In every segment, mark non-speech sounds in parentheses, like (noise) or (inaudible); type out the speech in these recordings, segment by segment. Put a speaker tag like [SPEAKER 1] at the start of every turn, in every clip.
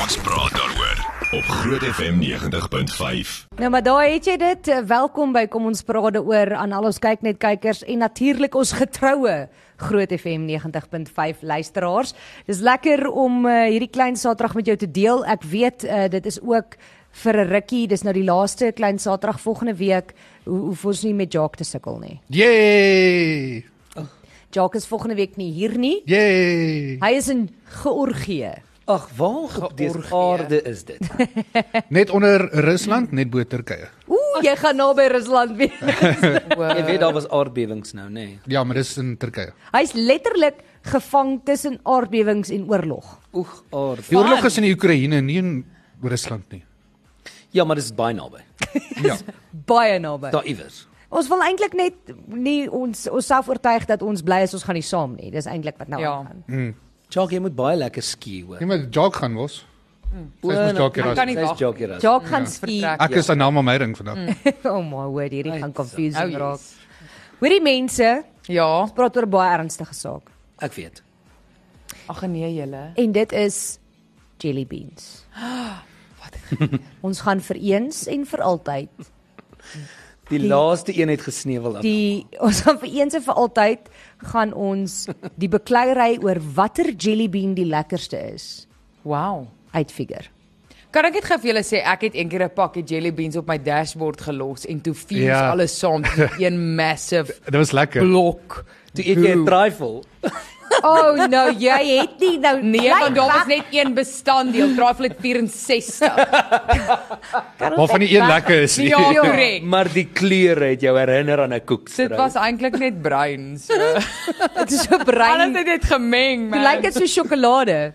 [SPEAKER 1] Ons praat daaroor op Groot FM 90.5.
[SPEAKER 2] Nou maar daar het jy dit. Eh, Welkom by Kom ons praat daaroor aan al ons kyk net kykers en natuurlik ons getroue Groot FM 90.5 luisteraars. Dis lekker om uh, hierdie klein Saterdag met jou te deel. Ek weet uh, dit is ook vir 'n rukkie, dis nou die laaste klein Saterdag volgende week. Hoe hoef ons nie met Jacques te sukkel nie.
[SPEAKER 3] Yay!
[SPEAKER 2] Jacques is volgende week nie hier nie.
[SPEAKER 3] Yay!
[SPEAKER 2] Hy is in Georgië.
[SPEAKER 4] Ag, waar op die aarde is (laughs) dit?
[SPEAKER 3] Net onder Rusland, net bo Turkye.
[SPEAKER 2] Ooh, jy gaan naby Rusland wees. (laughs)
[SPEAKER 4] Jy weet daar was aardbewings nou, nê? Nee.
[SPEAKER 3] Ja, maar dis in Turkye.
[SPEAKER 2] Hy's letterlik gevang tussen aardbewings en oorlog.
[SPEAKER 4] Oeg, aarde.
[SPEAKER 3] Die oorlog is in die Oekraïne, nie in Rusland nie.
[SPEAKER 4] Ja, maar dit is baie naby.
[SPEAKER 3] Ja.
[SPEAKER 2] Baie naby.
[SPEAKER 4] Daar iewers.
[SPEAKER 2] Ons wil eintlik net nie ons onsself oortuig dat ons bly is ons gaan nie saam nie. Dis eintlik wat nou
[SPEAKER 5] Ja.
[SPEAKER 2] aangaan.
[SPEAKER 4] Jacques, jy moet baie lekker ski hoor.
[SPEAKER 3] Nee, maar Jock gaan was.
[SPEAKER 5] Hmm.
[SPEAKER 3] Sy is mos Jock
[SPEAKER 5] Ek
[SPEAKER 3] hier.
[SPEAKER 5] kan nie Ja.
[SPEAKER 4] Dis
[SPEAKER 5] wag.
[SPEAKER 4] Jacques hier.
[SPEAKER 2] Jacques gaan ski.
[SPEAKER 5] Vertrek.
[SPEAKER 3] Ek is aan naam aan my ring vandag.
[SPEAKER 5] Hmm.
[SPEAKER 2] (laughs) Oh my word, hierdie gaan
[SPEAKER 5] Oh,
[SPEAKER 2] confusing
[SPEAKER 5] yes.
[SPEAKER 2] raak. Hoorie mense,
[SPEAKER 5] Ja.
[SPEAKER 2] praat oor 'n baie ernstige saak
[SPEAKER 4] Ek weet.
[SPEAKER 5] Ag nee julle.
[SPEAKER 2] en dit is jelly
[SPEAKER 5] (gasps)
[SPEAKER 2] beans. Ons gaan vir eens en vir altyd
[SPEAKER 4] Die, die laaste een het gesneuwel aan.
[SPEAKER 2] die (laughs) ons gaan vir eens en vir altyd gaan ons die bekleierery oor watter jelly bean die lekkerste is
[SPEAKER 5] Wow.
[SPEAKER 2] uitfigure.
[SPEAKER 5] Kan ek net gou vir julle sê ek het eendag 'n pakkie jelly beans op my dashboard gelos en toe fuse
[SPEAKER 3] Ja.
[SPEAKER 5] ja. alles saam in een massive
[SPEAKER 3] Dit was lekker.
[SPEAKER 5] blok.
[SPEAKER 4] Toe eet jy 'n trifle.
[SPEAKER 2] Oh no, jy het nie nou
[SPEAKER 5] Nee,
[SPEAKER 2] Bly
[SPEAKER 5] want daar
[SPEAKER 2] weg
[SPEAKER 5] was net een bestanddeel, trifle het 64.
[SPEAKER 3] Waarvan die een lekker is.
[SPEAKER 5] Ja, korrek.
[SPEAKER 4] Maar die kleure het jou herinner aan 'n koekstryd.
[SPEAKER 5] Dit was eintlik net bruin.
[SPEAKER 2] (laughs)
[SPEAKER 5] So.
[SPEAKER 2] Dit is so
[SPEAKER 5] Alles
[SPEAKER 2] bruin.
[SPEAKER 5] het net gemeng,
[SPEAKER 2] Dit
[SPEAKER 5] man.
[SPEAKER 2] lyk dit so sjokolade.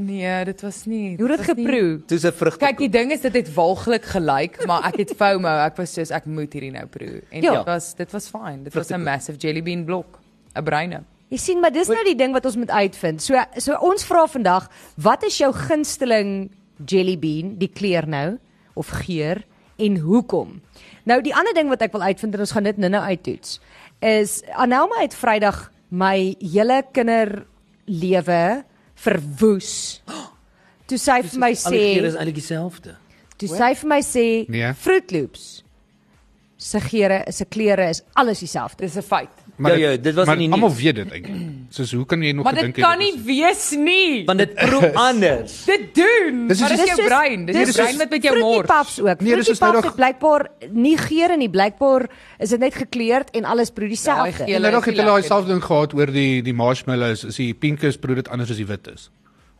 [SPEAKER 5] Nee, dit was nie.
[SPEAKER 2] Hoe het dit
[SPEAKER 5] was nie-
[SPEAKER 2] geproe?
[SPEAKER 4] Toe se vrugte.
[SPEAKER 5] Kyk, die ding is dit het walglik gelyk, maar ek het FOMO. Ek was soos ek moet hierdie nou proe. En
[SPEAKER 2] Ja.
[SPEAKER 5] dit was dit was fyn. Dit was
[SPEAKER 4] Vruchtekoek.
[SPEAKER 5] 'n massive jelly bean blok, 'n bruine.
[SPEAKER 2] Jy sien, maar dis nou die ding wat ons moet uitvind. So so ons vra vandag, wat is jou gunsteling jelly bean, die kleur nou of geur en hoekom? Nou die ander ding wat ek wil uitvind en ons gaan dit nou-nou uittoets is Anelma het Vrydag my hele kinderlewe verwoes. Toe sy vir my
[SPEAKER 4] Al die
[SPEAKER 2] sê
[SPEAKER 4] kleure is eintlik dieselfde.
[SPEAKER 2] Toe sy vir my sê
[SPEAKER 3] Nee.
[SPEAKER 2] Fruit Loops se geure, se kleure is alles dieselfde.
[SPEAKER 5] Dis 'n feit.
[SPEAKER 3] (laughs) Maar
[SPEAKER 4] Ja, ja, dit was
[SPEAKER 3] maar
[SPEAKER 4] in die
[SPEAKER 3] Almal
[SPEAKER 4] nuus.
[SPEAKER 3] weet dit eintlik. Soos hoe kan jy nog
[SPEAKER 5] Maar
[SPEAKER 3] gedink
[SPEAKER 5] dit
[SPEAKER 3] het
[SPEAKER 5] kan
[SPEAKER 3] dit
[SPEAKER 5] nie
[SPEAKER 3] is-
[SPEAKER 5] wees nie.
[SPEAKER 4] Want dit
[SPEAKER 5] (laughs)
[SPEAKER 4] proe anders.
[SPEAKER 5] Dit doen.
[SPEAKER 3] Dis is
[SPEAKER 5] Maar Dit is
[SPEAKER 3] soos-
[SPEAKER 5] jou brein. Dis jou
[SPEAKER 3] dis is
[SPEAKER 5] brein wat met jou
[SPEAKER 2] Fruity
[SPEAKER 5] mors.
[SPEAKER 2] Puffs ook.
[SPEAKER 3] Nee,
[SPEAKER 2] Nee,
[SPEAKER 3] dis
[SPEAKER 2] Fruity
[SPEAKER 3] is nou
[SPEAKER 2] Puffs
[SPEAKER 3] nog-
[SPEAKER 2] het blykbaar nie geure nie, blykbaar is dit net gekleurd en alles broer
[SPEAKER 5] Daai
[SPEAKER 2] dieselfde.
[SPEAKER 5] Ja, geel-
[SPEAKER 3] Hulle het ook
[SPEAKER 5] Lekker.
[SPEAKER 3] hulle daai selfde ding gehad oor die die marshmallows, is die pinkes brood dit anders as die wit is.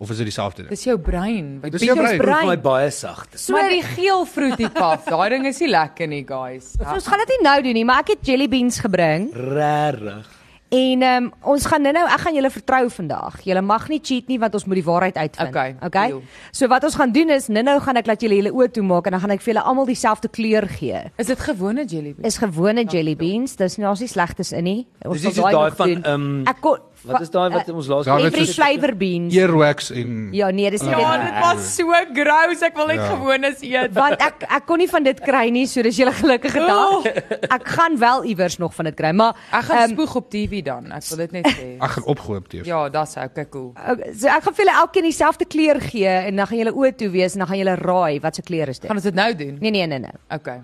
[SPEAKER 3] Of is dit dieselfde ding?
[SPEAKER 5] Dis jou brein. Wat
[SPEAKER 3] Dis
[SPEAKER 5] Dis
[SPEAKER 3] jou brein.
[SPEAKER 4] Proe vir my
[SPEAKER 2] Brein.
[SPEAKER 4] baie sagte.
[SPEAKER 2] So
[SPEAKER 5] maar die
[SPEAKER 2] die,
[SPEAKER 5] geel fruity puff, daai ding is nie lekker nie, guys.
[SPEAKER 2] ons gaan dit nie nou doen nie, maar ek het jelly beans gebring
[SPEAKER 4] Regtig.
[SPEAKER 2] en ehm um, ons gaan nou-nou ek gaan julle vertrou vandag. Julle mag nie cheat nie want ons moet die waarheid uitvind.
[SPEAKER 5] Okay,
[SPEAKER 2] okay?
[SPEAKER 5] deal.
[SPEAKER 2] So wat ons gaan doen is nou-nou gaan ek laat julle julle oë toe maak en dan gaan ek vir julle almal dieselfde kleur gee.
[SPEAKER 5] Is dit gewone jelly bean?
[SPEAKER 2] is gewone jelly beans. Dis nie ons nie slegtes in nie. Ons
[SPEAKER 4] Dis nie
[SPEAKER 2] sal
[SPEAKER 4] so daai
[SPEAKER 2] nog
[SPEAKER 4] van,
[SPEAKER 2] doen.
[SPEAKER 4] ehm,
[SPEAKER 2] Ek kon
[SPEAKER 4] Wat is daai
[SPEAKER 5] Eh,
[SPEAKER 4] wat ons laas
[SPEAKER 3] Ja, dit
[SPEAKER 2] Every
[SPEAKER 3] is-
[SPEAKER 2] flavor beans.
[SPEAKER 3] Earwax en
[SPEAKER 2] Ja, nee, dis nie
[SPEAKER 5] Ja,
[SPEAKER 2] dit.
[SPEAKER 5] dit was so gross. Ek wil net
[SPEAKER 3] Ja.
[SPEAKER 5] gewoon as eet.
[SPEAKER 2] Want ek ek kon nie van dit kry nie, so dis julle gelukkige dag. Ek gaan wel iewers nog van dit kry, maar
[SPEAKER 5] Ek gaan
[SPEAKER 2] ehm,
[SPEAKER 5] spoeg op TV dan. Ek wil dit net sê.
[SPEAKER 3] ek gaan opgehoop teef.
[SPEAKER 5] Ja, dis okay, cool.
[SPEAKER 2] ok, so ek gaan vir julle elkeen dieselfde kleur gee en dan gaan julle oë toe wees en dan gaan julle raai wat se kleur is dit.
[SPEAKER 5] Gaan ons dit nou doen?
[SPEAKER 2] Nee nee nee nee.
[SPEAKER 5] Okay.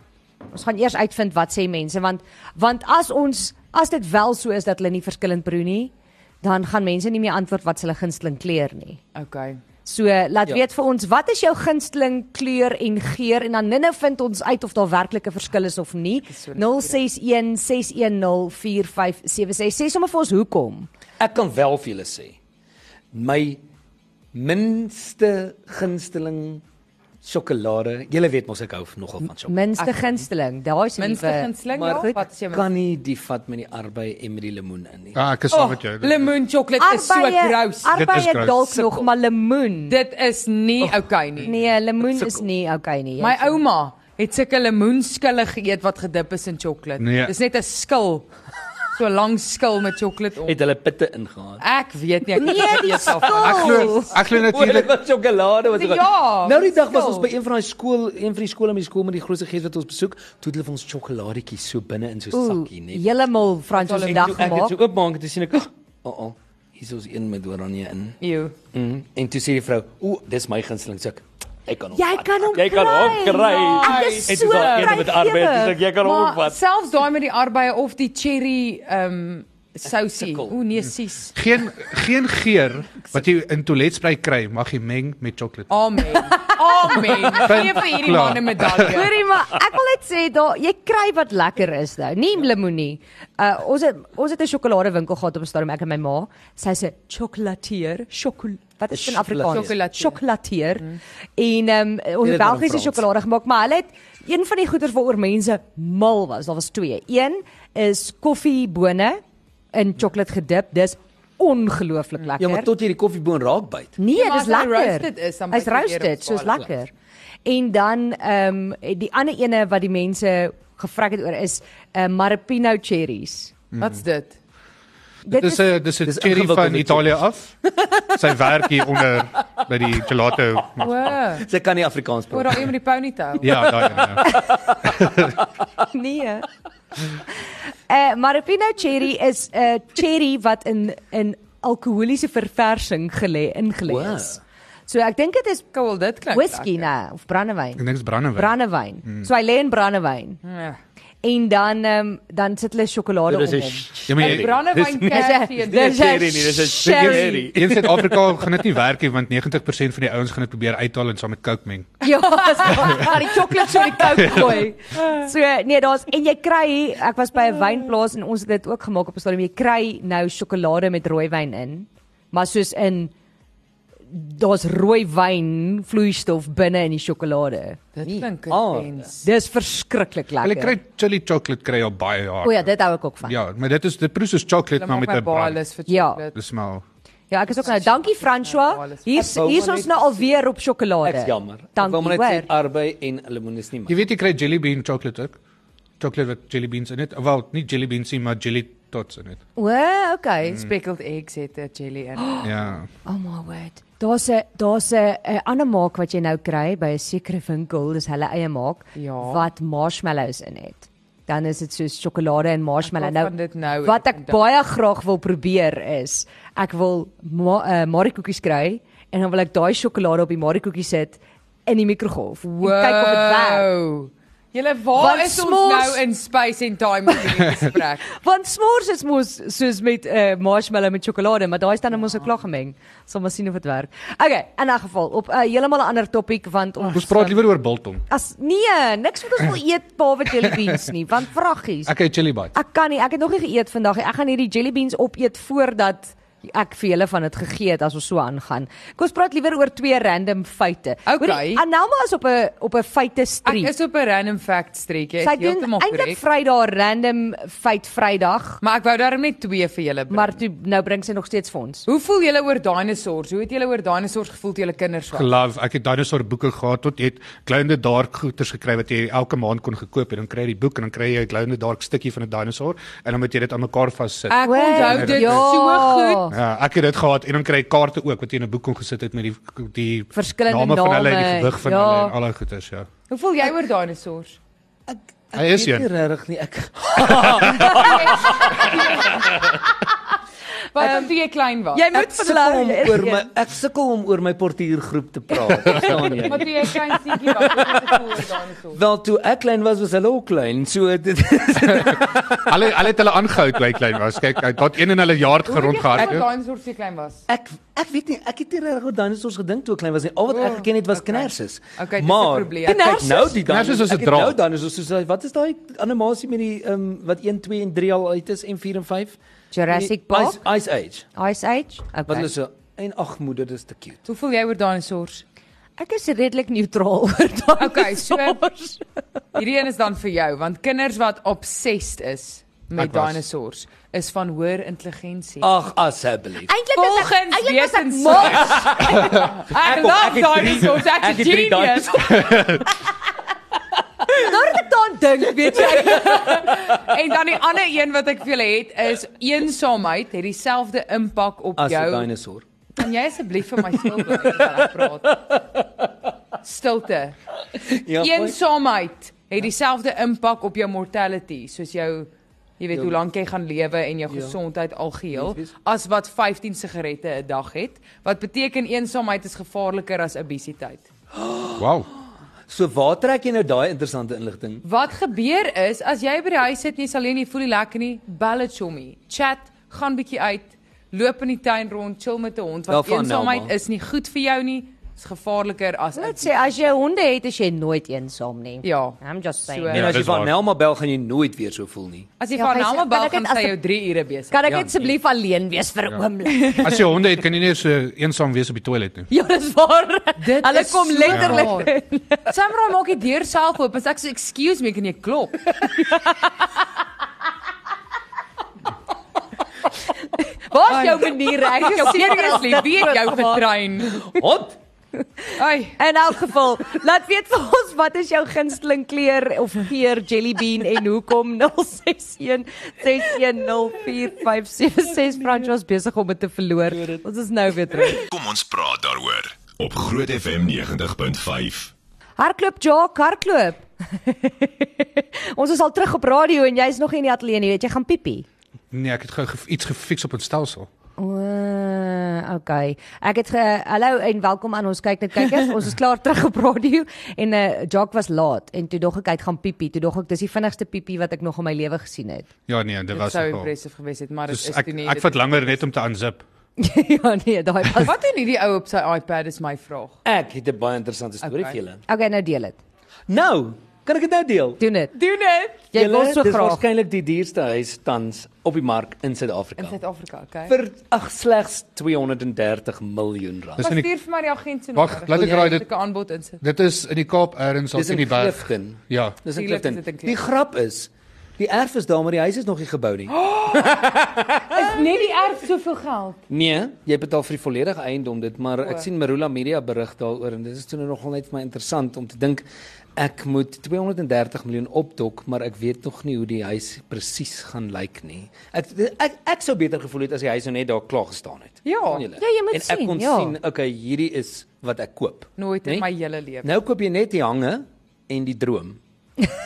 [SPEAKER 2] Ons gaan eers uitvind wat sê mense want want as ons as dit wel so is dat hulle nie verskillend proe nie, dan gaan mense nie meer antwoord wat se hulle gunsteling kleur nie.
[SPEAKER 5] Okay.
[SPEAKER 2] So laat ja.
[SPEAKER 4] Ja.
[SPEAKER 2] weet vir ons wat is jou gunsteling kleur en geur en dan ninne vind ons uit of daar werklik 'n verskil is of nie.
[SPEAKER 5] is so
[SPEAKER 2] 0616104576 sê sommer vir ons hoekom.
[SPEAKER 4] Ek kan wel vir julle sê. My minste gunsteling sjokolade. Julle weet mos ek hou nogal van sjokolade.
[SPEAKER 2] Minste gunsteling, daai is
[SPEAKER 5] Minste gunsteling,
[SPEAKER 4] Maar
[SPEAKER 5] ja,
[SPEAKER 4] goed,
[SPEAKER 5] wat is jou
[SPEAKER 4] kan nie die vat met die arbei en met die lemoen in nie.
[SPEAKER 3] Ah, ek is saam met jou.
[SPEAKER 5] Oh, lemoen chocolate is so
[SPEAKER 2] ja.
[SPEAKER 3] Dit
[SPEAKER 5] gross.
[SPEAKER 3] is
[SPEAKER 2] Arbeid
[SPEAKER 3] gross.
[SPEAKER 2] dalk nog maar lemoen.
[SPEAKER 5] Dit is nie
[SPEAKER 4] Oh.
[SPEAKER 5] okay nie.
[SPEAKER 2] Nee, lemoen is nie okay nie.
[SPEAKER 5] My ouma het sulke lemoenskille geëet wat gedip is in chocolate.
[SPEAKER 3] Nee.
[SPEAKER 5] Dis net 'n skil. So 'n lang skil met chocolate om.
[SPEAKER 4] Het hulle pitte (laughs) ingehaal.
[SPEAKER 5] Ek weet nie ek (laughs)
[SPEAKER 2] Nee, (laughs)
[SPEAKER 5] het
[SPEAKER 2] die
[SPEAKER 5] eet daarvan.
[SPEAKER 3] Ek glo
[SPEAKER 2] Oh.
[SPEAKER 3] ek glo
[SPEAKER 4] Dit
[SPEAKER 3] natuurlik
[SPEAKER 4] was sjokolade wat
[SPEAKER 5] Ja,
[SPEAKER 4] Nou die dag was ons
[SPEAKER 5] verskil.
[SPEAKER 4] by een van daai skool, een van die skole met die skool met die grootste gees wat ons besoek, toe het hulle vir ons sjokoladetjies so binne in so 'n
[SPEAKER 2] Ooh,
[SPEAKER 4] sakkie net.
[SPEAKER 2] heeltemal Frans
[SPEAKER 4] En
[SPEAKER 2] ons
[SPEAKER 4] toe
[SPEAKER 2] dag
[SPEAKER 4] ek dit
[SPEAKER 2] gemaak.
[SPEAKER 4] so oopmaak, toe sien ek, "Ag, o, oh, oh, hier is ons een met oranje in."
[SPEAKER 5] Ew.
[SPEAKER 4] Mm. En toe sê die vrou, "O, dis my gunsteling suk." Jy kan hom.
[SPEAKER 2] Jy
[SPEAKER 4] vat.
[SPEAKER 2] kan hom
[SPEAKER 4] Jy kan hom
[SPEAKER 2] kry.
[SPEAKER 4] kry.
[SPEAKER 2] Ek is
[SPEAKER 4] En
[SPEAKER 2] so
[SPEAKER 4] dis al een met arbeid, dis ek jy kan hom
[SPEAKER 5] Maar
[SPEAKER 4] opvat.
[SPEAKER 5] selfs daai met die arbeie of die cherry ehm sousie.
[SPEAKER 4] Sukkel.
[SPEAKER 5] O nee, sies.
[SPEAKER 3] Geen geen geur wat jy in toiletsprei kry mag jy meng met sjokolade.
[SPEAKER 2] Oh,
[SPEAKER 5] Amen.
[SPEAKER 4] (laughs)
[SPEAKER 5] Amen. Gee vir hierdie
[SPEAKER 3] Klaar.
[SPEAKER 5] man 'n medalje.
[SPEAKER 2] Hoorie maar, ek wil net sê daar jy kry wat lekker is nou. Nie lemoenie. Uh ons het ons het 'n sjokoladewinkel gehad op 'n stadium ek en my ma. Sy's 'n chocolatier, sjokol. Wat is dit in Afrikaans?
[SPEAKER 5] Chocolatier.
[SPEAKER 2] Chocolatier. En ehm um, ons
[SPEAKER 4] Jy
[SPEAKER 2] het
[SPEAKER 4] Mm. het maar
[SPEAKER 2] Belgiese
[SPEAKER 4] in Frans.
[SPEAKER 2] sjokolade gemaak, maar hulle het een van die goeders waaroor mense mal was. Daar was twee. Een is koffiebone in sjokolade gedip. Dis ongelooflik lekker.
[SPEAKER 4] Mm. Ja, maar tot jy die koffieboon raak byt.
[SPEAKER 2] Nee,
[SPEAKER 5] Ja, maar
[SPEAKER 2] dis
[SPEAKER 5] as hy
[SPEAKER 2] lekker.
[SPEAKER 5] roasted is, dan
[SPEAKER 2] hy's
[SPEAKER 5] byt jy weer op
[SPEAKER 2] roasted, soos
[SPEAKER 5] skale.
[SPEAKER 2] lekker. En dan ehm um, die ander ene wat die mense gevra het oor is uh, Marapino cherries.
[SPEAKER 4] Mm.
[SPEAKER 5] Wat's dit?
[SPEAKER 2] Dit
[SPEAKER 3] Dis
[SPEAKER 2] is
[SPEAKER 3] 'n dis 'n
[SPEAKER 4] Dis
[SPEAKER 3] cherry van
[SPEAKER 4] ingewikkelde
[SPEAKER 3] Italië af. Sy werk hier onder by die gelato.
[SPEAKER 5] Wow.
[SPEAKER 4] Sy kan nie Afrikaans
[SPEAKER 5] Oor
[SPEAKER 4] praat.
[SPEAKER 5] daai een met die ponytail.
[SPEAKER 3] Ja, daai een. ja.
[SPEAKER 2] (laughs) nee. Uh, Marapino cherry is 'n uh, cherry wat in in alkoholiese verversing gelê ingelê
[SPEAKER 4] Wow.
[SPEAKER 2] is. So ek dink dit is
[SPEAKER 5] Cool, dit klink.
[SPEAKER 2] whisky
[SPEAKER 5] lekker.
[SPEAKER 2] nou of brandewyn.
[SPEAKER 3] Ek dink dis brandewyn.
[SPEAKER 2] Brandewyn. Mm. So hy lê in brandewyn
[SPEAKER 5] Ja.
[SPEAKER 2] en dan ehm um, dan sit hulle sjokolade
[SPEAKER 4] Dit
[SPEAKER 2] om
[SPEAKER 4] is 'n
[SPEAKER 2] hom.
[SPEAKER 3] Ja, maar
[SPEAKER 5] 'n
[SPEAKER 3] jy-
[SPEAKER 5] Brandewyn
[SPEAKER 2] Dis
[SPEAKER 3] dis-
[SPEAKER 2] 'n-
[SPEAKER 5] kersie.
[SPEAKER 2] dis 'n
[SPEAKER 4] cherry nie, dis 'n cherry.
[SPEAKER 3] In Suid-Afrika gaan dit nie werk nie want 90% van die ouens gaan dit probeer uithaal en saam met Coke meng.
[SPEAKER 2] (laughs) Ja, maar die sjokolade so die koue gooi. So nee, daar's en jy kry ek was by 'n wynplaas en ons het dit ook gemaak op 'n stadium. Jy kry nou sjokolade met rooi wyn in. Maar soos in daar's rooi wyn vloeistof binne in die sjokolade.
[SPEAKER 5] Dit
[SPEAKER 4] Nee,
[SPEAKER 5] klink
[SPEAKER 2] Oh.
[SPEAKER 4] aarde.
[SPEAKER 5] intens.
[SPEAKER 2] Dis verskriklik lekker.
[SPEAKER 3] Hulle kry chili chocolate kry al baie jaar.
[SPEAKER 2] O ja, dit hou ek ook van. Ja,
[SPEAKER 3] Ja, maar dit is dit proes is chocolate
[SPEAKER 5] Hulle
[SPEAKER 3] maar
[SPEAKER 5] maak
[SPEAKER 3] met
[SPEAKER 5] my
[SPEAKER 3] 'n brand.
[SPEAKER 5] baalus vir
[SPEAKER 2] Ja.
[SPEAKER 5] chocolate.
[SPEAKER 3] Dis maar
[SPEAKER 2] ja ek is ook nou. Dankie François. Hier's
[SPEAKER 4] Ek wou
[SPEAKER 2] hier's
[SPEAKER 4] maar
[SPEAKER 2] ons
[SPEAKER 4] net
[SPEAKER 2] nou alweer op sjokolade.
[SPEAKER 4] Ek's jammer. Ja, Ek
[SPEAKER 2] Dankie
[SPEAKER 4] wil maar net
[SPEAKER 2] hoor.
[SPEAKER 4] sê arbei en lemoen is nie
[SPEAKER 3] Jy
[SPEAKER 4] my.
[SPEAKER 3] weet jy kry jelly bean chocolate ook. Chocolate wat jelly beans in dit. Wel, nie jelly beans nie, maar jelly tots in dit.
[SPEAKER 2] O, okay.
[SPEAKER 5] Speckled eggs het 'n jelly in.
[SPEAKER 3] Ja.
[SPEAKER 2] Oh my word. Daar's 'n daar's 'n 'n ander maak wat jy nou kry by 'n sekere winkel, dis hulle eie maak
[SPEAKER 5] Ja.
[SPEAKER 2] wat marshmallows in het. Dan is dit soos sjokolade en marshmallow.
[SPEAKER 5] Ek hou van dit nou,
[SPEAKER 2] wat
[SPEAKER 5] ek
[SPEAKER 2] ek
[SPEAKER 5] dink.
[SPEAKER 2] baie graag wil probeer is, ek wil ma, uh, mariekoekies kry en dan wil ek daai sjokolade op die mariekoekie sit in die mikrogolf. en Kyk of dit werk.
[SPEAKER 5] Wow. Julle waar
[SPEAKER 2] Want
[SPEAKER 5] is ons
[SPEAKER 2] s'mores-
[SPEAKER 5] nou in space and time met hierdie gesprek?
[SPEAKER 2] Want s'mores is mos soos met 'n uh, marshmallow met sjokolade, maar daai staan dan mos ook klaar gemeng. Sal maar sien of dit werk. Okay, in 'n geval op 'n uh, heeltemal 'n ander topik want ons eh,
[SPEAKER 3] Ons praat liewer oor biltong.
[SPEAKER 2] As nee, niks wat ons wil eet behalwe jelly beans nie, want vraggies.
[SPEAKER 3] Ek het chili bite.
[SPEAKER 2] Ek kan nie, ek het nog nie geëet vandag nie. Ek gaan hierdie jelly beans opeet voordat ek vir julle van dit gegee het as ons so aangaan. Kom ons praat liewer oor twee random feite.
[SPEAKER 5] Okay.
[SPEAKER 2] Hoorie, Anelma is op 'n op 'n feite
[SPEAKER 5] Ek
[SPEAKER 2] streak.
[SPEAKER 5] is op 'n random fact streek. Jy
[SPEAKER 2] Sy
[SPEAKER 5] is
[SPEAKER 2] doen
[SPEAKER 5] heeltemal
[SPEAKER 2] eintlik
[SPEAKER 5] korrek.
[SPEAKER 2] Vrydag random feit Vrydag,
[SPEAKER 5] Maar ek wou daarom net twee vir julle bring.
[SPEAKER 2] maar toe nou bring sy nog steeds vir ons.
[SPEAKER 5] Hoe voel julle oor dinosourus? Hoe het julle oor dinosourus gevoel toe julle kinders was?
[SPEAKER 3] Geloof, ek het dinosour boeke gehad tot jy het Glounde Dark goeters gekry wat jy elke maand kon gekoop en dan kry jy die boek en dan kry jy 'n Glounde Dark stukkie van 'n dinosour en dan moet jy dit aan mekaar vassit.
[SPEAKER 5] Ek onthou dit
[SPEAKER 2] Ja.
[SPEAKER 5] so goed.
[SPEAKER 3] Ja, ek het dit gehad en dan kry jy kaarte ook wat jy in 'n boek kon gesit het met die die
[SPEAKER 2] Verskillende
[SPEAKER 3] name van hulle en die
[SPEAKER 2] name,
[SPEAKER 3] gewig van
[SPEAKER 2] ja.
[SPEAKER 3] hulle en al daai goeters, ja.
[SPEAKER 5] Hoe voel jy oor dinosourus?
[SPEAKER 3] Hy is
[SPEAKER 4] Ek weet
[SPEAKER 3] een.
[SPEAKER 4] nie regtig nie. Ek
[SPEAKER 5] Wat um, toe jy klein was?
[SPEAKER 2] Ehm, Jy
[SPEAKER 4] ek
[SPEAKER 2] moet
[SPEAKER 4] sukkel
[SPEAKER 2] verklaar
[SPEAKER 4] om
[SPEAKER 2] jy is
[SPEAKER 4] oor
[SPEAKER 2] een.
[SPEAKER 4] my ek sukkel om oor my portuïergroep te praat. Verstaan
[SPEAKER 5] Maar
[SPEAKER 4] jy?
[SPEAKER 5] toe jy klein seentjie was, hoe het jy gevoel oor dinosourus?
[SPEAKER 4] Wel toe ek klein was was hulle ook klein. So dit
[SPEAKER 3] Hulle hulle het hulle aangehou toe hy klein was. Kyk, hy het een en hulle jaard gerond
[SPEAKER 5] Ek
[SPEAKER 3] gehardloop.
[SPEAKER 5] daai soort se klein was.
[SPEAKER 4] ek ek weet nie, ek het nie regtig oor dinosourus gedink toe ek klein was nie. Al wat ek geken het was knerses.
[SPEAKER 5] Okay, dis 'n
[SPEAKER 4] maar
[SPEAKER 5] probleem.
[SPEAKER 4] ek kyk nou die
[SPEAKER 3] Knerses is 'n
[SPEAKER 4] dinosourus. Ek het
[SPEAKER 3] draad.
[SPEAKER 4] nou dinosourus soos wat is daai animasie met die ehm um, wat 1 2 en 3 al uit is en 4 en 5?
[SPEAKER 2] Jurassic
[SPEAKER 4] Die
[SPEAKER 2] Park,
[SPEAKER 4] Ice, Ice Age.
[SPEAKER 2] Ice Age.
[SPEAKER 5] Nee.
[SPEAKER 4] Wat
[SPEAKER 2] Okay.
[SPEAKER 4] is so en ag moeder dis te cute.
[SPEAKER 5] Hoe voel jy oor
[SPEAKER 4] (laughs)
[SPEAKER 5] dinosourus?
[SPEAKER 2] Ek is redelik neutraal oor (laughs) daai.
[SPEAKER 5] Okay, so hierdie een is dan vir jou want kinders wat obsessed is met
[SPEAKER 3] Ek was.
[SPEAKER 5] dinosourus is van hoër intelligensie.
[SPEAKER 4] Ag asseblief.
[SPEAKER 2] Eintlik is ek
[SPEAKER 5] Volgens
[SPEAKER 2] eintlik is ek mal.
[SPEAKER 5] wetenskap. (laughs)
[SPEAKER 4] kom,
[SPEAKER 5] Ek love
[SPEAKER 4] ek het drie-
[SPEAKER 5] dinosourus. Ek
[SPEAKER 4] ek
[SPEAKER 5] is
[SPEAKER 4] het drie
[SPEAKER 5] genius.
[SPEAKER 2] (laughs) Nou dat ek daaraan dink, weet jy,
[SPEAKER 5] (laughs) En dan die ander een wat ek vir julle het is eensaamheid het dieselfde impak op
[SPEAKER 4] As 'n
[SPEAKER 5] jou.
[SPEAKER 4] dinosour.
[SPEAKER 5] (laughs) Kan jy asseblief vir my stil bly terwyl ek praat? Stilte.
[SPEAKER 4] Ja.
[SPEAKER 5] Eensaamheid het dieselfde impak op jou mortality, soos jou jy weet
[SPEAKER 4] Ja.
[SPEAKER 5] hoe lank jy gaan lewe en jou
[SPEAKER 4] Ja.
[SPEAKER 5] gesondheid algeheel
[SPEAKER 4] Yes, yes.
[SPEAKER 5] as wat 15 sigarette 'n dag het, wat beteken eensaamheid is gevaarliker as obesiteit.
[SPEAKER 3] Wow.
[SPEAKER 4] So waar trek jy nou daai interessante inligting?
[SPEAKER 3] Ja,
[SPEAKER 5] Wat gebeur is as jy by die huis sit en jy's alleen, jy voel nie lekker nie, bel 'n chommy. Chat, gaan bietjie uit, loop in die tuin rond, chill met 'n hond want
[SPEAKER 4] Daarvan,
[SPEAKER 5] eensaamheid
[SPEAKER 4] Nelma.
[SPEAKER 5] is nie goed vir jou nie. Is gevaarliker as
[SPEAKER 2] Dit sê as jy honde het, is jy nooit eensaam nie.
[SPEAKER 5] Ja.
[SPEAKER 2] I'm just saying.
[SPEAKER 5] So-
[SPEAKER 4] En
[SPEAKER 5] Ja,
[SPEAKER 4] as jy
[SPEAKER 3] dis
[SPEAKER 4] van
[SPEAKER 3] waar.
[SPEAKER 4] Nelma bel gaan jy nooit weer so voel
[SPEAKER 5] (laughs)
[SPEAKER 4] nie.
[SPEAKER 5] As jy
[SPEAKER 2] Ja,
[SPEAKER 5] van
[SPEAKER 2] gys,
[SPEAKER 5] hom
[SPEAKER 2] kan
[SPEAKER 5] bel
[SPEAKER 2] ek
[SPEAKER 5] gaan
[SPEAKER 2] dit as
[SPEAKER 5] sy
[SPEAKER 2] ek-
[SPEAKER 5] jou 3 ure besig.
[SPEAKER 2] Kan ek
[SPEAKER 4] Ja,
[SPEAKER 2] net asseblief alleen wees vir 'n oomblik?
[SPEAKER 3] As jy honde het, kan jy nie so eensaam wees op die toilet nie.
[SPEAKER 2] Ja, dis waar.
[SPEAKER 5] Dit
[SPEAKER 2] Hulle
[SPEAKER 5] is
[SPEAKER 2] kom
[SPEAKER 5] so
[SPEAKER 2] letterlik.
[SPEAKER 5] Samra maak die deur self oop en sê ek so excuse me kan jy (laughs) klop.
[SPEAKER 2] Waar is jou manier? Ek is jou
[SPEAKER 5] Seriously, wie het jou getrein?
[SPEAKER 4] Hot.
[SPEAKER 5] Ai,
[SPEAKER 2] In elk geval, laat weet vir ons wat is jou gunsteling kleur of geur jelly bean en hoekom 061 6104576 Frans was besig om dit te verloor. Ons is nou weer terug.
[SPEAKER 1] Kom ons praat daaroor op Groot FM 90.5.
[SPEAKER 2] Hardloop Jock, hardloop. (laughs) ons is al terug op radio en jy's nog nie in die ateljee nie, weet jy, gaan piepie.
[SPEAKER 3] Nee, ek het gou ge iets gefiks op 'n stelsel.
[SPEAKER 2] O, okay. Ek het ge hallo en welkom aan ons kyk net kykers. ons is klaar terug op radio en eh uh, Jock was laat en toe dog ek hy het gaan piepie. Toe dog ek dis die vinnigste piepie wat ek nog in my lewe gesien het. (laughs)
[SPEAKER 3] Ja nee, dit
[SPEAKER 5] dit
[SPEAKER 3] was
[SPEAKER 5] sou
[SPEAKER 3] nogal.
[SPEAKER 5] impressive gewees het, maar dit
[SPEAKER 3] Dus
[SPEAKER 5] is
[SPEAKER 3] ek
[SPEAKER 5] toe nie.
[SPEAKER 3] ek vat langer net om te unzip.
[SPEAKER 2] ja nee, daai was.
[SPEAKER 5] Wat doen hierdie ou op sy iPad is my vraag.
[SPEAKER 4] Ek het 'n baie interessante storie
[SPEAKER 5] Okay.
[SPEAKER 4] vir julle.
[SPEAKER 2] Okay, nou deel dit.
[SPEAKER 4] Nou, kan ek dit nou deel?
[SPEAKER 2] Doen dit.
[SPEAKER 5] Doen dit
[SPEAKER 2] Jy wil so
[SPEAKER 4] dis
[SPEAKER 2] graag.
[SPEAKER 4] waarskynlik die duurste huis tans op die mark in Suid-Afrika.
[SPEAKER 5] in Suid-Afrika, okay?
[SPEAKER 4] vir ag slegs 230 miljoen rand.
[SPEAKER 3] Dis in die
[SPEAKER 5] Pastuur vir my die agent se
[SPEAKER 3] Wag,
[SPEAKER 5] nommer.
[SPEAKER 3] laat ek
[SPEAKER 5] Wil jy
[SPEAKER 3] raai dit-
[SPEAKER 5] eintlik 'n aanbod insit.
[SPEAKER 3] Dit is in die Kaap ergens op
[SPEAKER 4] Dis
[SPEAKER 3] in die
[SPEAKER 4] in
[SPEAKER 3] berg.
[SPEAKER 4] Clifton.
[SPEAKER 3] Ja.
[SPEAKER 4] Dis in
[SPEAKER 5] Tuurlik is
[SPEAKER 4] Clifton.
[SPEAKER 5] dit in Clifton.
[SPEAKER 4] Die grap is, die erf is daar, maar die huis is nog nie gebou nie.
[SPEAKER 5] Is net die erf soveel geld?
[SPEAKER 4] Nee, jy betaal vir die volledige eiendom dit, maar ek sien Marula Media berig daaroor en dit is toe nou nogal net vir my interessant om te dink ek moet 230 miljoen opdok, maar ek weet nog nie hoe die huis presies gaan lyk nie. Ek ek ek sou beter gevoel het as die huis nou net daar klaar gestaan het.
[SPEAKER 5] Ja,
[SPEAKER 4] Verstaan julle?
[SPEAKER 2] ja, jy moet
[SPEAKER 4] en ek
[SPEAKER 2] sien,
[SPEAKER 4] kon
[SPEAKER 2] ja.
[SPEAKER 4] sien, okay, hierdie is wat ek koop.
[SPEAKER 5] Nooit in
[SPEAKER 4] Nee?
[SPEAKER 5] my hele lewe.
[SPEAKER 4] Nou koop jy net die hange en die droom.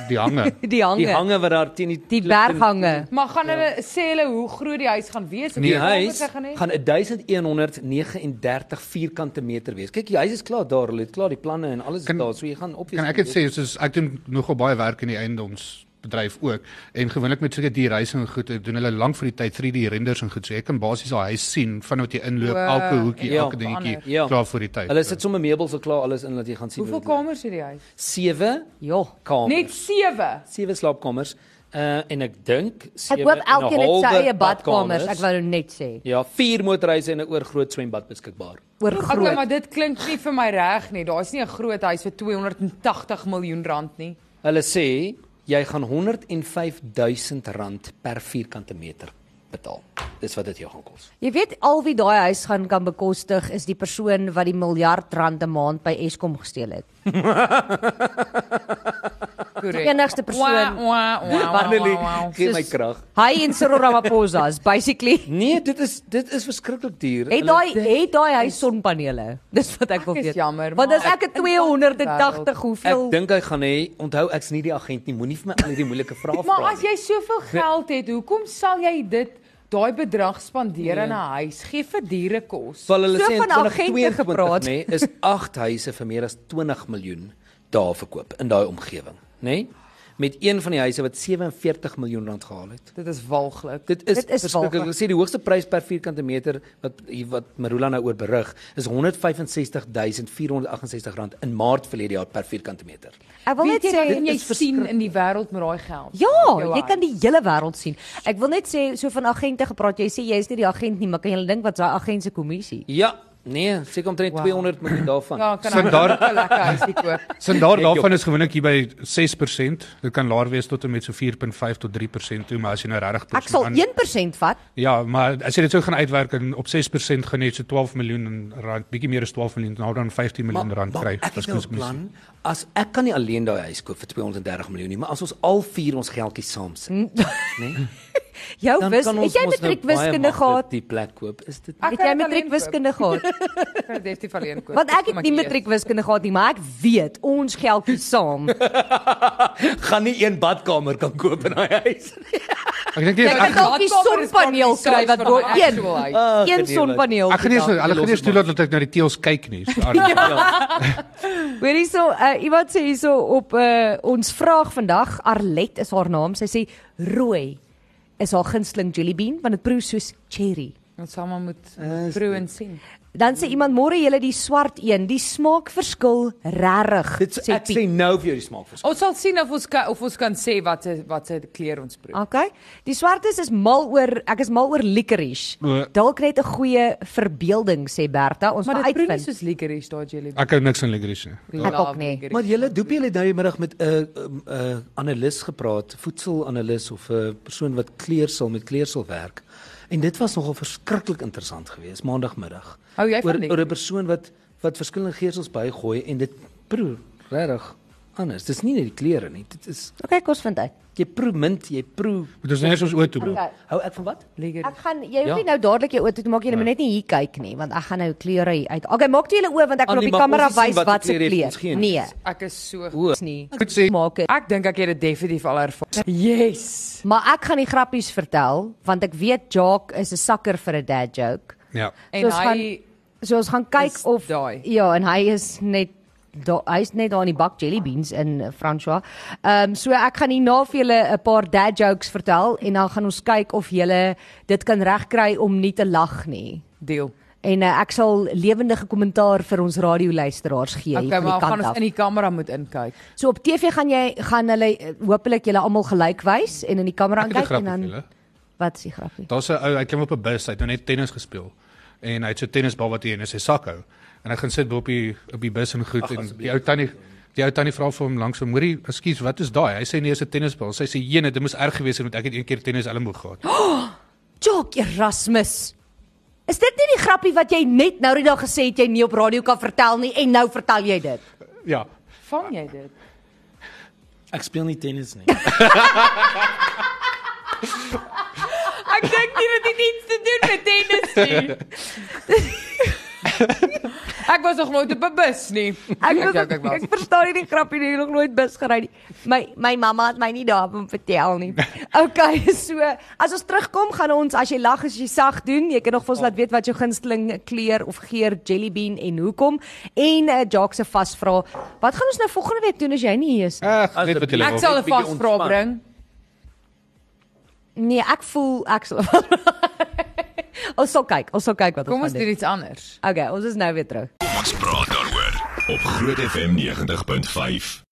[SPEAKER 3] Die hange.
[SPEAKER 2] Die hange.
[SPEAKER 4] Die hange wat daar teen die
[SPEAKER 2] die berghange.
[SPEAKER 5] Maar
[SPEAKER 3] Ja.
[SPEAKER 5] gaan hulle sê hulle hoe groot die huis gaan wees?
[SPEAKER 4] Die
[SPEAKER 5] Hoeveel kamers
[SPEAKER 4] huis
[SPEAKER 5] hy gaan hê?
[SPEAKER 4] Nee, gaan 1139 vierkante meter wees. Kyk, die huis is klaar daar, hulle het klaar die planne en alles
[SPEAKER 3] Kan-
[SPEAKER 4] kan, daar, so jy gaan op
[SPEAKER 3] Kan ek dit sê soos ek doen nogal baie werk in die eiendomsbedryf ook en gewoonlik met sulke dierreise en goed eh, doen hulle lank vir die tyd 3D renders en goed so jy kan basies daai huis sien vanaf jy inloop
[SPEAKER 5] Wow.
[SPEAKER 3] elke hoekie
[SPEAKER 4] Ja,
[SPEAKER 3] elke dingetjie
[SPEAKER 5] verander.
[SPEAKER 4] Ja.
[SPEAKER 3] klaar vir die tyd.
[SPEAKER 4] Hulle sit sommer meubels al klaar alles in dat jy gaan sien.
[SPEAKER 5] Hoeveel kamers het die huis?
[SPEAKER 4] 7
[SPEAKER 2] Ja.
[SPEAKER 4] kamers.
[SPEAKER 5] Net 7.
[SPEAKER 4] 7 slaapkamers. Uh en ek dink
[SPEAKER 2] Ek
[SPEAKER 4] sewe
[SPEAKER 2] hoop
[SPEAKER 4] en 'n
[SPEAKER 2] elkeen het sy
[SPEAKER 4] halwe
[SPEAKER 2] eie badkamers, ek
[SPEAKER 4] badkamers.
[SPEAKER 2] wou net sê.
[SPEAKER 4] Ja, 4 motorhuise en 'n oorgroot swembad beskikbaar.
[SPEAKER 2] Oor
[SPEAKER 5] Okay,
[SPEAKER 2] groot.
[SPEAKER 5] maar dit klink nie vir my reg nie. Daar's nie 'n groot huis vir 280 miljoen rand nie.
[SPEAKER 4] Hulle sê jy gaan 105000 rand per vierkante meter betaal. Dis wat dit jou gaan kos.
[SPEAKER 2] Jy weet al wie daai huis gaan kan bekostig is die persoon wat die miljard rand 'n maand by Eskom gesteel het.
[SPEAKER 5] Korrek.
[SPEAKER 2] Die enigste persoon.
[SPEAKER 4] Annelie,
[SPEAKER 5] Annelie.
[SPEAKER 4] gee my krag.
[SPEAKER 2] Hy en Cyril Ramaphosa is basically
[SPEAKER 4] Nee, dit is dit is verskriklik duur.
[SPEAKER 2] het
[SPEAKER 4] Hulle-
[SPEAKER 2] daai het daai huis sonpanele. (laughs) Dis wat ek wil
[SPEAKER 5] Ek is
[SPEAKER 2] weet.
[SPEAKER 5] jammer,
[SPEAKER 2] Want
[SPEAKER 5] maar
[SPEAKER 2] as ek het
[SPEAKER 5] in watter
[SPEAKER 2] 280 hoeveel
[SPEAKER 4] Ek dink hy gaan hê, onthou ek's nie die agent nie, moenie vir my al hierdie moeilike
[SPEAKER 2] (laughs)
[SPEAKER 4] vrae vra.
[SPEAKER 5] Maar as
[SPEAKER 4] nie.
[SPEAKER 5] jy soveel
[SPEAKER 2] Nee.
[SPEAKER 5] geld het, hoekom sal jy dit daai bedrag spandeer
[SPEAKER 2] Nee.
[SPEAKER 5] aan 'n huis? Gee vir diere kos.
[SPEAKER 4] Wel hulle
[SPEAKER 2] So
[SPEAKER 4] sê in
[SPEAKER 2] van agente
[SPEAKER 4] 2022
[SPEAKER 2] gepraat.
[SPEAKER 4] nê, is 8 huise vir meer as 20 miljoen daar verkoop in daai omgewing, nê? Met een van die huise wat 47 miljoen rand gehaal het.
[SPEAKER 5] Dit is walglik.
[SPEAKER 4] Dit is,
[SPEAKER 2] Dit is
[SPEAKER 4] verskriklik.
[SPEAKER 2] walglik.
[SPEAKER 4] Hulle sê die hoogste prys per vierkante meter wat hier wat Marula nou oor berig is R165468 rand in Maart verlede jaar per vierkante meter.
[SPEAKER 2] ek wil net
[SPEAKER 5] Weet jy wat
[SPEAKER 2] sê
[SPEAKER 5] kan jy
[SPEAKER 4] is
[SPEAKER 5] sien in die wêreld met daai geld?
[SPEAKER 2] Ja,
[SPEAKER 5] Jou
[SPEAKER 2] jy
[SPEAKER 5] huis.
[SPEAKER 2] kan die hele wêreld sien. Ek wil net sê so van agente gepraat. Jy sê jy is nie die agent nie, maar kan jy dink wat is daai agent se kommissie?
[SPEAKER 4] Ja, nee, seker omtrent
[SPEAKER 5] Wow.
[SPEAKER 4] wow. 200 miljoen daarvan.
[SPEAKER 5] Ja, kan
[SPEAKER 3] Sit
[SPEAKER 5] ek
[SPEAKER 3] daar-
[SPEAKER 5] daar 'n lekker huisie koop. (laughs)
[SPEAKER 3] Sin daar
[SPEAKER 4] Kyk op.
[SPEAKER 3] daarvan is gewoonlik hier by 6%. Dit kan laer wees tot en met so 4.5 tot 3% toe, maar as jy nou regtig
[SPEAKER 2] Ek sal
[SPEAKER 3] aan-
[SPEAKER 2] 1% vat.
[SPEAKER 3] Ja, maar as jy dit sou gaan uitwerk en op 6% gaan jy so 12 miljoen rand, bietjie meer as 12 miljoen, nou dan 15 miljoen rand kry.
[SPEAKER 4] Ek het
[SPEAKER 3] as
[SPEAKER 4] nou 'n
[SPEAKER 3] kunsmis.
[SPEAKER 4] plan. As ek kan nie alleen daai huis koop vir 230 miljoen nie, maar as ons al vier ons geldjies saam sit, nê? Nee,
[SPEAKER 2] Jou
[SPEAKER 4] dan
[SPEAKER 2] wis,
[SPEAKER 4] kan ons
[SPEAKER 2] het jy
[SPEAKER 4] mos nou
[SPEAKER 2] matriek
[SPEAKER 4] baie
[SPEAKER 2] wiskunde
[SPEAKER 4] maklik
[SPEAKER 2] gehad?
[SPEAKER 4] Die plek koop is dit (laughs)
[SPEAKER 5] Ek
[SPEAKER 2] Het jy
[SPEAKER 5] kan dit alleen
[SPEAKER 2] matriek
[SPEAKER 5] koop. nee.
[SPEAKER 2] wiskunde gehad?
[SPEAKER 5] (laughs) Ek kan dit definitief alleen koop.
[SPEAKER 2] Want ek
[SPEAKER 5] Kom
[SPEAKER 2] het nie
[SPEAKER 5] eet.
[SPEAKER 2] matriek wiskunde gehad nie, maar ek weet ons geldjie saam.
[SPEAKER 4] gaan nie een badkamer kan koop in daai huis.
[SPEAKER 3] Ek dink nie
[SPEAKER 2] Jy
[SPEAKER 3] ek
[SPEAKER 2] kan
[SPEAKER 3] ek
[SPEAKER 2] dalk die sonpaneel kry wat bo een een
[SPEAKER 4] gedeelte.
[SPEAKER 2] sonpaneel.
[SPEAKER 3] gaan nie eens
[SPEAKER 2] dalk.
[SPEAKER 3] hulle gaan nie eens toelaat dat ek na die teels kyk nie.
[SPEAKER 2] (laughs)
[SPEAKER 3] So,
[SPEAKER 2] Ja. Hoor hierso, uh, iemand sê hierso op uh, ons vraag vandag, Arlet is haar naam. Sy sê rooi is haar gunsteling jellybean want dit proe soos cherry.
[SPEAKER 5] Ons sal maar moet
[SPEAKER 4] Is
[SPEAKER 5] proe en sien.
[SPEAKER 2] Dan sê iemand môre julle die swart een, die smaakverskil regtig.
[SPEAKER 4] Dit so, ek sê nou vir jou die smaak verskil.
[SPEAKER 5] Ons sal sien of ons kan, of ons kan sê wat se wat se kleur ons proe.
[SPEAKER 2] Okay. Die swartes is mal oor ek is mal oor licorice.
[SPEAKER 4] Ja.
[SPEAKER 3] O.
[SPEAKER 2] Dalk net 'n goeie verbeelding sê Bertha, ons
[SPEAKER 5] Maar
[SPEAKER 2] moet
[SPEAKER 5] dit proe nie
[SPEAKER 2] uitvind.
[SPEAKER 5] soos licorice daai jelly.
[SPEAKER 3] ek hou niks van licorice nie.
[SPEAKER 2] Ek ook nie.
[SPEAKER 5] Maar
[SPEAKER 4] Maar julle doop julle nou die middag met 'n uh, um, uh, analis gepraat, voedselanalis of 'n persoon wat kleursel met kleursel werk. En dit was nogal verskriklik interessant geweest maandagmiddag.
[SPEAKER 5] Hou jy van
[SPEAKER 4] oor,
[SPEAKER 5] die?
[SPEAKER 4] oor 'n persoon wat wat verskillende geursels bygooi en dit proe regtig anders. Dis nie net die kleure nie. Dit is
[SPEAKER 2] Okay, kom ons vind uit.
[SPEAKER 4] jy proe mint, jy proe
[SPEAKER 3] Dit is net soos oor toe.
[SPEAKER 2] Okay.
[SPEAKER 4] Hou ek van wat?
[SPEAKER 5] licorice.
[SPEAKER 2] Ek gaan jy hoef
[SPEAKER 4] Ja.
[SPEAKER 2] nie nou dadelik jou oë toe te maak, jy moet net nie hier kyk nie, want ek gaan nou kleure hier uit. Okay, maak toe julle oë want ek wil op die
[SPEAKER 4] Annie, maar
[SPEAKER 2] kamera
[SPEAKER 4] ons sien
[SPEAKER 2] wys
[SPEAKER 4] watter
[SPEAKER 2] wat se
[SPEAKER 4] kleur jy het,
[SPEAKER 2] kleur.
[SPEAKER 4] ons geen
[SPEAKER 2] Nee,
[SPEAKER 4] iets.
[SPEAKER 5] Ek is so
[SPEAKER 4] O,
[SPEAKER 2] is nie.
[SPEAKER 3] Ek moet sê
[SPEAKER 2] Maak dit.
[SPEAKER 5] Ek dink ek het dit definitief al ervaar. Yes.
[SPEAKER 2] Maar ek gaan die grappies vertel want ek weet Jacques is 'n sakker vir 'n dad joke.
[SPEAKER 3] ja.
[SPEAKER 5] En
[SPEAKER 2] So ons
[SPEAKER 5] hy
[SPEAKER 2] So ons gaan kyk
[SPEAKER 5] Is
[SPEAKER 2] of
[SPEAKER 5] daai.
[SPEAKER 2] Ja, en hy is net da, hy's net daar in die bak jelly beans in eh, François. Ehm um, so ek gaan hierna vir julle 'n paar dad jokes vertel en dan gaan ons kyk of julle dit kan regkry om nie te lag nie.
[SPEAKER 5] deel.
[SPEAKER 2] En uh, ek sal lewendige kommentaar vir ons radioluisteraars gee hier
[SPEAKER 5] Okay,
[SPEAKER 2] van die
[SPEAKER 5] maar gaan
[SPEAKER 2] kant
[SPEAKER 5] ons
[SPEAKER 2] af.
[SPEAKER 5] in die kamera moet inkyk.
[SPEAKER 2] So op TV gaan jy gaan hulle eh, hopelik julle almal gelyk wys en in die kamera
[SPEAKER 3] Ek het 'n
[SPEAKER 2] kyk
[SPEAKER 3] grap
[SPEAKER 2] en
[SPEAKER 3] met
[SPEAKER 2] dan
[SPEAKER 3] julle.
[SPEAKER 2] wat is die grappie?
[SPEAKER 3] Daar's 'n ou, hy klim op 'n bus, hy het nou net tennis gespeel. En hy het so 'n tennisbal wat hy in sy sak hou. En hy gaan sit bo op die op die bus en goed en die ou tannie die ou tannie vra vir hom langs hom, "Hoorie, ekskuus, wat is daai?" Hy sê nee, is 'n tennisbal. Sy sê, "Jene, dit moes erg gewees het want ek het een keer tennis elmboog gehad."
[SPEAKER 2] Jock Erasmus. Is dit nie die grappie wat jy net nou die dag gesê het jy nie op radio kan vertel nie en nou vertel jy dit?
[SPEAKER 3] Ja.
[SPEAKER 5] Vang jy dit?
[SPEAKER 4] Ek speel nie tennis nie.
[SPEAKER 5] (laughs) Ek dink nie dit het iets te doen met tennis nie. (laughs) ek was nog nooit op 'n bus nie.
[SPEAKER 2] Ek
[SPEAKER 5] Ek
[SPEAKER 2] ek,
[SPEAKER 5] dink
[SPEAKER 2] ek,
[SPEAKER 5] ek was.
[SPEAKER 2] verstaan nie die grappie nie, ek het nog nooit bus gery nie. My my mamma het my nie daarvan vertel
[SPEAKER 5] (laughs)
[SPEAKER 2] nie. Okay, so as ons terugkom gaan ons as jy lag as jy sag doen, jy kan nog vir ons laat weet wat jou gunsteling kleur of geur jelly bean en hoekom en uh, Jock se vasvra. Wat gaan ons nou volgende week doen as jy nie hier is? nie?
[SPEAKER 3] Ag, net wat
[SPEAKER 5] (laughs) Ek
[SPEAKER 3] jy wil.
[SPEAKER 5] sal 'n
[SPEAKER 4] bietjie
[SPEAKER 5] vasvra
[SPEAKER 4] ontspan.
[SPEAKER 5] bring.
[SPEAKER 2] Nee, ek voel ek sal. (laughs) ons sal kyk, ons sal kyk wat
[SPEAKER 5] Kom
[SPEAKER 2] ons
[SPEAKER 5] ons
[SPEAKER 2] gaan doen.
[SPEAKER 5] doen iets anders.
[SPEAKER 2] Okay, ons is nou weer terug.
[SPEAKER 1] Ons praat daaroor op Groot FM 90.5.